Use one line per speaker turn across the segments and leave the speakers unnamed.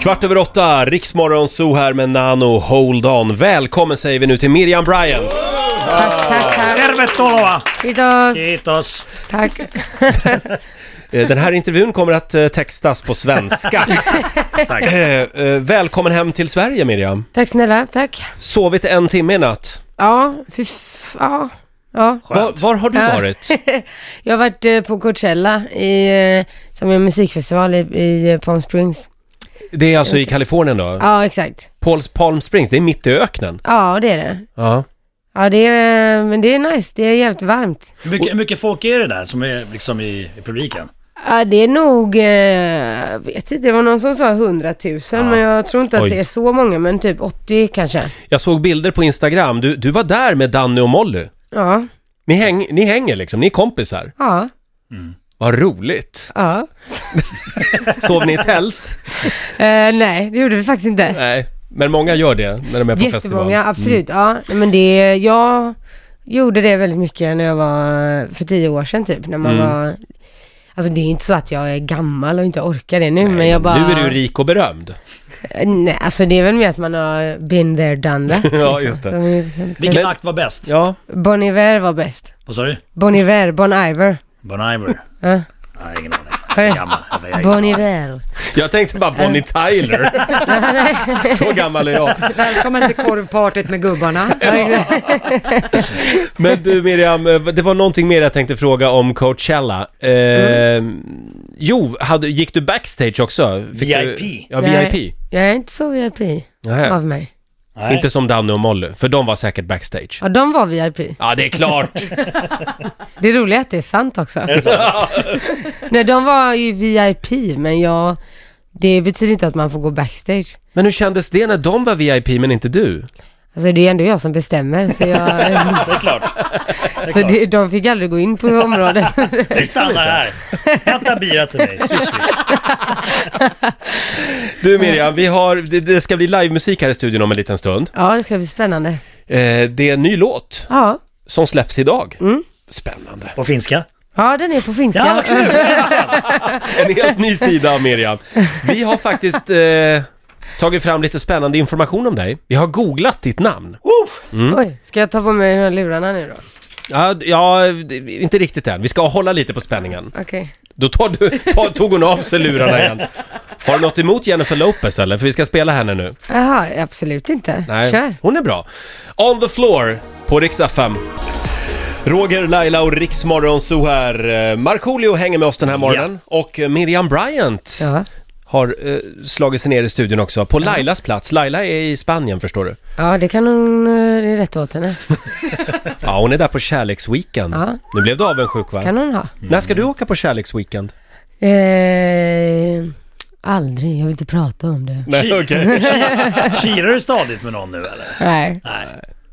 Kvart över åtta, Riksmorgon Zoo här med Nano Hold On. Välkommen säger vi nu till Miriam Bryant.
Tack, tack, tack.
Tervetuloa!
Kiitos.
Kiitos.
Tack.
Eh, Den här intervjun kommer att eh, textas på svenska. Eh, eh, Välkommen hem till Sverige Miriam.
Tack snälla, tack.
Sovit en timme i natt.
Ja, fy f- ja. ja.
Var, var har du
Ja.
varit?
Jag har varit eh, på Coachella, i, eh, som är en musikfestival i, i eh, Palm Springs.
Det är alltså i Kalifornien då?
Ja, exakt.
Pauls Palm Springs, det är mitt i öknen.
Ja, det är det.
Ja.
Ja, det är, eh, men det är nice. Det är jävligt varmt.
Hur mycket, hur mycket folk är det där som är liksom i, i publiken?
Ja, det är nog, eh, jag vet inte, det var någon som sa 100 000, men jag tror inte att
Oj.
det är så många, men typ 80 kanske.
Jag såg bilder på Instagram. Du, du var där med Danny och Molly.
Ja,
Ni, häng, ni hänger liksom, ni är kompisar.
ja,
Vad roligt.
ja.
Sov ni i tält?
Eh, nej, det gjorde vi faktiskt inte.
Nej, men många gör det när de är på festival. Mm.
Jättemånga, absolut. Ja, nej, men det, jag gjorde det väldigt mycket när jag var, för tio år sedan typ, när
Mm.
man var, alltså det är inte så att jag är gammal och inte orkar det nu, men jag bara...
Nu är du ju rik och berömd.
Nej, alltså det är väl mer att man har been there, done that. liksom.
Ja, just det.
Så,
Vilken akt var bäst?
Ja.
bon Iver var bäst.
Vad sa du?
Bon Iver, Bon Iver.
Bon Iver?
Ja.
Nej, ingen aning. Jag är gammal. Jag är gammal.
Bon Iver.
Jag tänkte bara Bonnie Tyler. Så gammal är jag.
Välkommen till korvpartyt med gubbarna.
Men du Miriam, eh, det var någonting mer jag tänkte fråga om Coachella. Eh,
Mm.
Jo, hade, gick du backstage också? Du,
VIP?
ja,
Nej,
VIP.
Jag är inte så VIP
Nähä.
av mig.
Nej.
Inte som Danny och Molly, för de var säkert backstage.
Ja, de var VIP.
Ja, det är klart!
Det är roligt att det är sant också.
Är det så?
Nej, de var ju VIP, men jag... Det betyder inte att man får gå backstage.
Men hur kändes det när de var VIP men inte du?
Alltså det är ändå jag som bestämmer, så jag...
Det är klart.
så det, de fick aldrig gå in på området.
Vi stannar här. Hämta bira till mig. Swish, swish.
Du Miriam, vi har, det, det ska bli livemusik här i studion om en liten stund.
ja, det ska bli spännande.
Eh, det är en ny låt
Ja.
som släpps idag.
Mm.
Spännande.
På finska?
Ja, den är på finska.
Ja, vad kul!
En helt ny sida av Miriam. Vi har faktiskt eh, tagit fram lite spännande information om dig. Vi har googlat ditt namn.
Oj, ska jag ta på mig de här lurarna nu då?
Ja, d- ja, d- inte riktigt än. Vi ska hålla lite på spänningen.
Okej.
Då tar du, ta, tog hon av sig lurarna igen. Har du något emot Jennifer Lopez eller? För vi ska spela henne nu.
Jaha, absolut inte. Kör.
Hon är bra. On the floor på riksdag 5. Roger, Laila och Riksmorgon så här. Eh, Markoolio hänger med oss den här morgonen. Och eh, Miriam Bryant.
Ja.
har eh, slagit sig ner i studion också, på Lailas plats. Laila är i Spanien förstår du.
ja, det kan hon... eh, Det är rätt åt henne.
Ja, hon är där på kärleksweekend.
Ja.
Nu blev du avundsjuk va?
Kan hon ha.
När ska du åka på kärleksweekend?
Eh, aldrig, jag vill inte prata om det.
Nej, Kilar du stadigt med någon nu eller?
Nej,
Nej.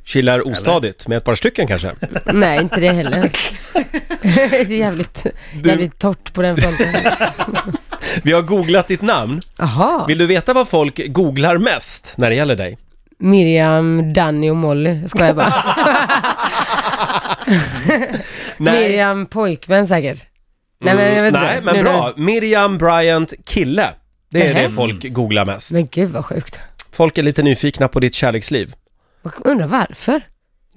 Chillar ostadigt med ett par stycken kanske?
nej inte det heller. det är jävligt, jävligt torrt på den fronten.
Vi har googlat ditt namn.
Jaha,
Vill du veta vad folk googlar mest när det gäller dig?
Miriam, Danny och Molly. Jag skojar bara. Miriam pojkvän säkert. Nej men jag vet inte.
Mm. Nej, men
Nu
bra.
när-
Miriam Bryant kille. Det är
Mhm.
det folk googlar mest.
Men gud vad sjukt.
Folk är lite nyfikna på ditt kärleksliv.
Och Undrar varför?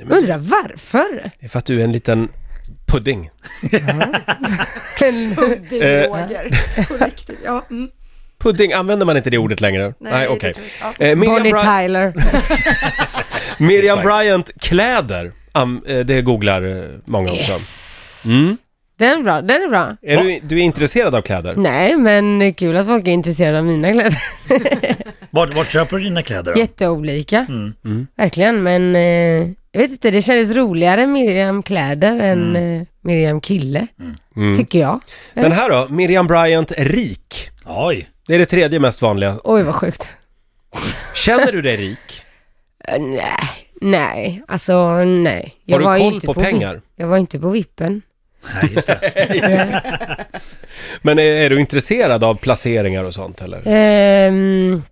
Undrar varför?
Det är för att du är en liten pudding.
Det är Roger. På riktigt. Ja, mm.
Pudding, använder man inte det ordet längre?
Nej,
Nej
det
okej.
tror jag
Eh, Miriam,
Bonnie
Bry-
Tyler.
Miriam
Exakt.
Bryant kläder, am, eh, det googlar eh, många också.
Yes.
Mm.
Den är bra, den är bra.
Är du, du är intresserad av kläder?
Nej men det är kul att folk är intresserade av mina kläder.
Vart, vart köper du dina kläder då?
Jätteolika.
Mm.
Verkligen, men eh, jag vet inte, det kändes roligare Miriam kläder än eh, Miriam kille,
Mm.
tycker jag.
Den här då, Miriam Bryant rik.
Oj.
Det är det tredje mest vanliga.
Oj, vad sjukt.
Känner du dig rik?
Eh, nej, nej, alltså nej. Jag
Har du
var ju
koll
inte
på
vi-
pengar?
Jag var inte på vippen.
Nej, just det.
Men är, är du intresserad av placeringar och sånt eller?
Ehm,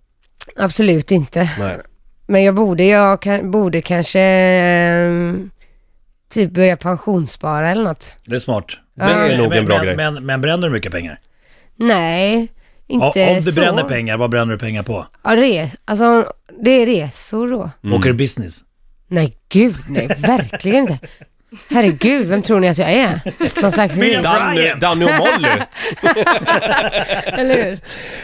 absolut inte.
Nej.
Men jag borde, jag kan, borde kanske ehm, typ börja pensionsspara eller något.
Det är smart.
Det är nog en bra
men,
grej.
Men, men bränner du mycket pengar?
Nej, Inte
Ja, om du
så.
bränner pengar, vad bränner du pengar på?
Ja, re, alltså, det är resor då.
Åker du business?
Nej, gud, nej, verkligen inte. Herregud, vem tror ni att jag är? Någon slags...
Miriam.
Danny,
Bryant.
Danny och Molly.
Eller hur?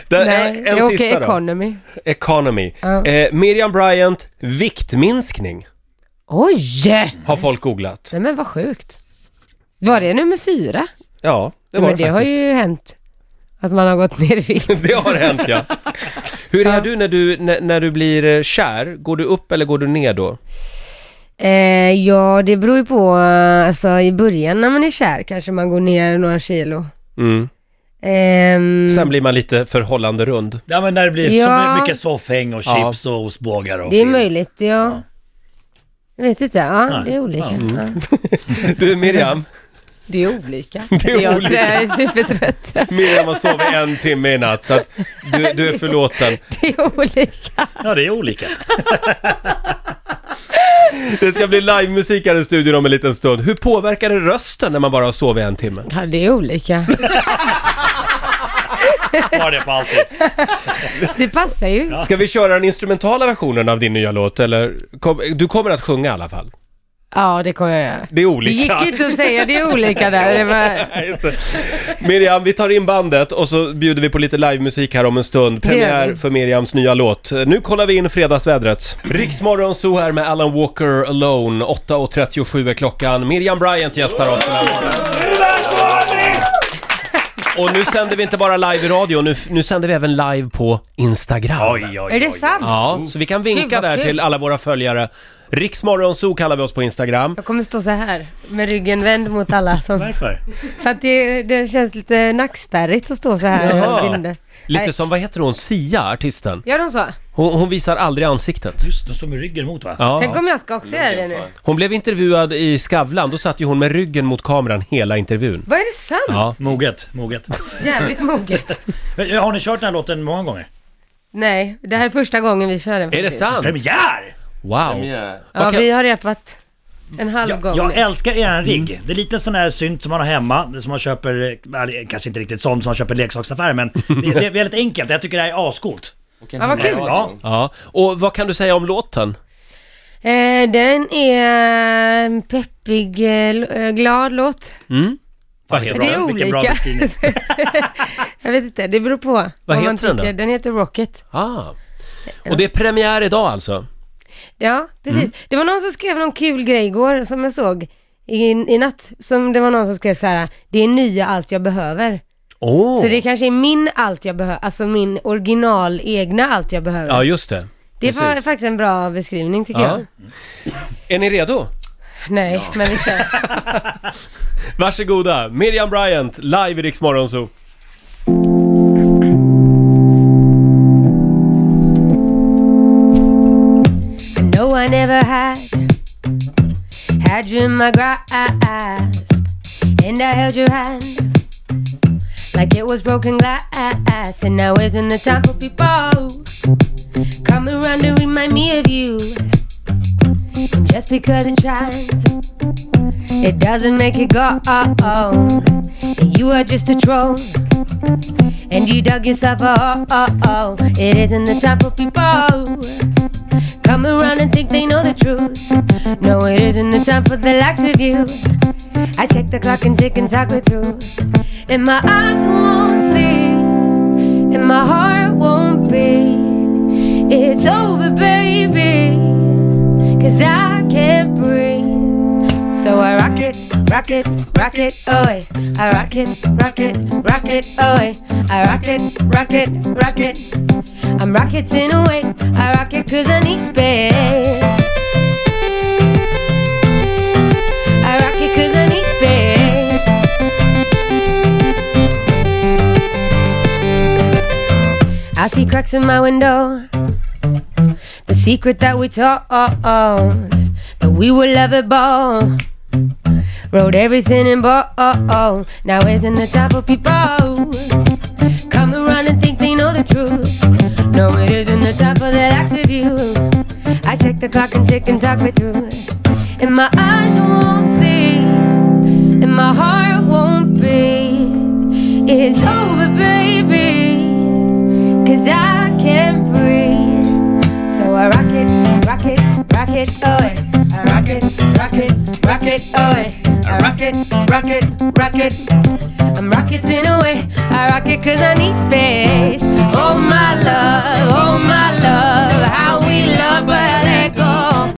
Det,
Nej,
en
jag
sista
åker
då.
economy.
Economy.
Ja.
Eh, Miriam Bryant, viktminskning,
Oj!
har folk googlat.
Nej men vad sjukt. Var det nummer fyra?
Ja, det
Det
var
men
det
det
faktiskt.
har ju hänt. Att man har gått ner i vikt.
Det har hänt ja. Hur är du när du, när, när du blir eh, kär? Går du upp eller går du ner då?
Eh, ja, det beror ju på. eh, Alltså i början när man är kär kanske man går ner några kilo.
Mm.
Ehm,
Sen blir man lite förhållande rund.
Ja men när det blir
Ja.
så mycket soffhäng och
Ja.
chips och ostbågar och
det är
film.
möjligt, ja. Jag vet inte, ja
Nej.
det är olika. Ja.
Du Miriam,
Det är olika.
Det är
jag,
olika.
Jag är supertrött.
Miriam har sovit en timme i natt så att du, du är förlåten.
Det är olika.
Ja det är olika.
Det ska bli livemusik här i studion om en liten stund. Hur påverkar det rösten när man bara har sovit en timme?
Ja, det är olika.
Svar det på allting.
Det passar ju.
Ja.
Ska vi köra den instrumentala versionen av din nya låt eller? Kom, du kommer att sjunga i alla fall.
Ja, det kommer jag göra.
Det är
Det gick
olika.
ju inte att säga, det är olika där. Det var...
Nej, just det. Miriam, vi tar in bandet och så bjuder vi på lite livemusik här om en stund.
gör vi.
Premiär för Miriams nya låt. Nu kollar vi in fredagsvädret. Riksmorgon så här med Alan Walker Alone. 8.37 är klockan. Miriam Bryant gästar oss den här morgonen. Och nu sänder vi inte bara live i radio, nu, nu sänder vi även live på Instagram.
Oj, oj, oj.
Är det sant?
Ja, så vi kan
Gud,
vinka
vad
där
kul.
till alla våra följare. Riksmorgon så kallar vi oss på Instagram.
Jag kommer stå så här med ryggen vänd mot alla som...
Varför?
För att det, det känns lite nackspärrigt att stå så här.
Jaha.
Jag vill inte.
Lite
Nej.
som, vad heter hon, Sia, artisten?
Gör de så?
Hon, hon visar aldrig ansiktet.
Just det, står med ryggen mot va?
Tänk
Ja.
om jag ska också göra det nu.
Hon blev intervjuad i Skavlan, då satt ju hon med ryggen mot kameran hela intervjun.
Vad är det sant?
Ja.
Moget, moget.
Jävligt moget.
Men eh, Har ni kört den här låten många gånger?
Nej, det här är första gången vi kör den.
Är det
faktiskt.
sant?
Premiär!
Wow!
Ja,
Vad kan-
vi har repat en halv gång
Jag
nu.
älskar er rigg.
Mm.
Det är lite sån här synt som man har hemma, det som man köper, eh, eller, kanske inte riktigt sånt som man köper i leksaksaffär men det, det är väldigt enkelt. Jag tycker det här är ascoolt.
Ja, vad kul.
Ja.
Ja, och vad kan du säga om låten?
Eh, den är en peppig, eh, l- eh, glad låt.
Fan,
heter
vilken bra-
den? Det är
vilken bra
olika.
beskrivning.
Jag vet inte, det beror på. Vad,
heter
man
den då?
tycker. Den heter Rocket.
Ah. Och det är premiär idag alltså?
Ja, precis.
Mm.
Det var någon som skrev någon kul grej igår som jag såg i, i natt. Som det var någon som skrev så här: det är nya allt jag behöver.
Åh!
Så det kanske är min allt jag behöver, alltså min original egna allt jag behöver.
Ja, just det.
det var
precis.
faktiskt en bra beskrivning tycker
Ja.
jag.
Är ni redo?
Nej, men vi kör.
Varsågoda, Miriam Bryant, live i Rix Morgonzoo.
No, I never had had you in my grasp, and I held your hand like it was broken glass. And now isn't the time for people come around to remind me of you. And just because it shines, it doesn't make it go. And you are just a troll. And you dug yourself a hole. It isn't the time for people Come around and think they know the truth. No, it isn't the time for the likes of you. I check the clock and tick and talk it through. And my eyes won't sleep, and my heart won't beat. It's over, baby, cause I can't breathe. So I rock it, rock it, rock it, away. I rock it, rock it, rock it, away. I rock it, rock it, rock it. I'm rocketing away. I rock it cause I need space. I rock it cause I need space. I see cracks in my window. The secret that we told, that we were lovable. Wrote everything in bold. Now isn't the time for people come around and think they know the truth. No, it isn't the time for that active you. I check the clock and tick and talk me through. And my eyes won't sleep, and my heart won't beat. It's over, baby, rock it, oh, I rock it, rock it, rock it, oh, I rock it, rock it, rock it. I'm rocketing away, I rock it cause I need space. Oh,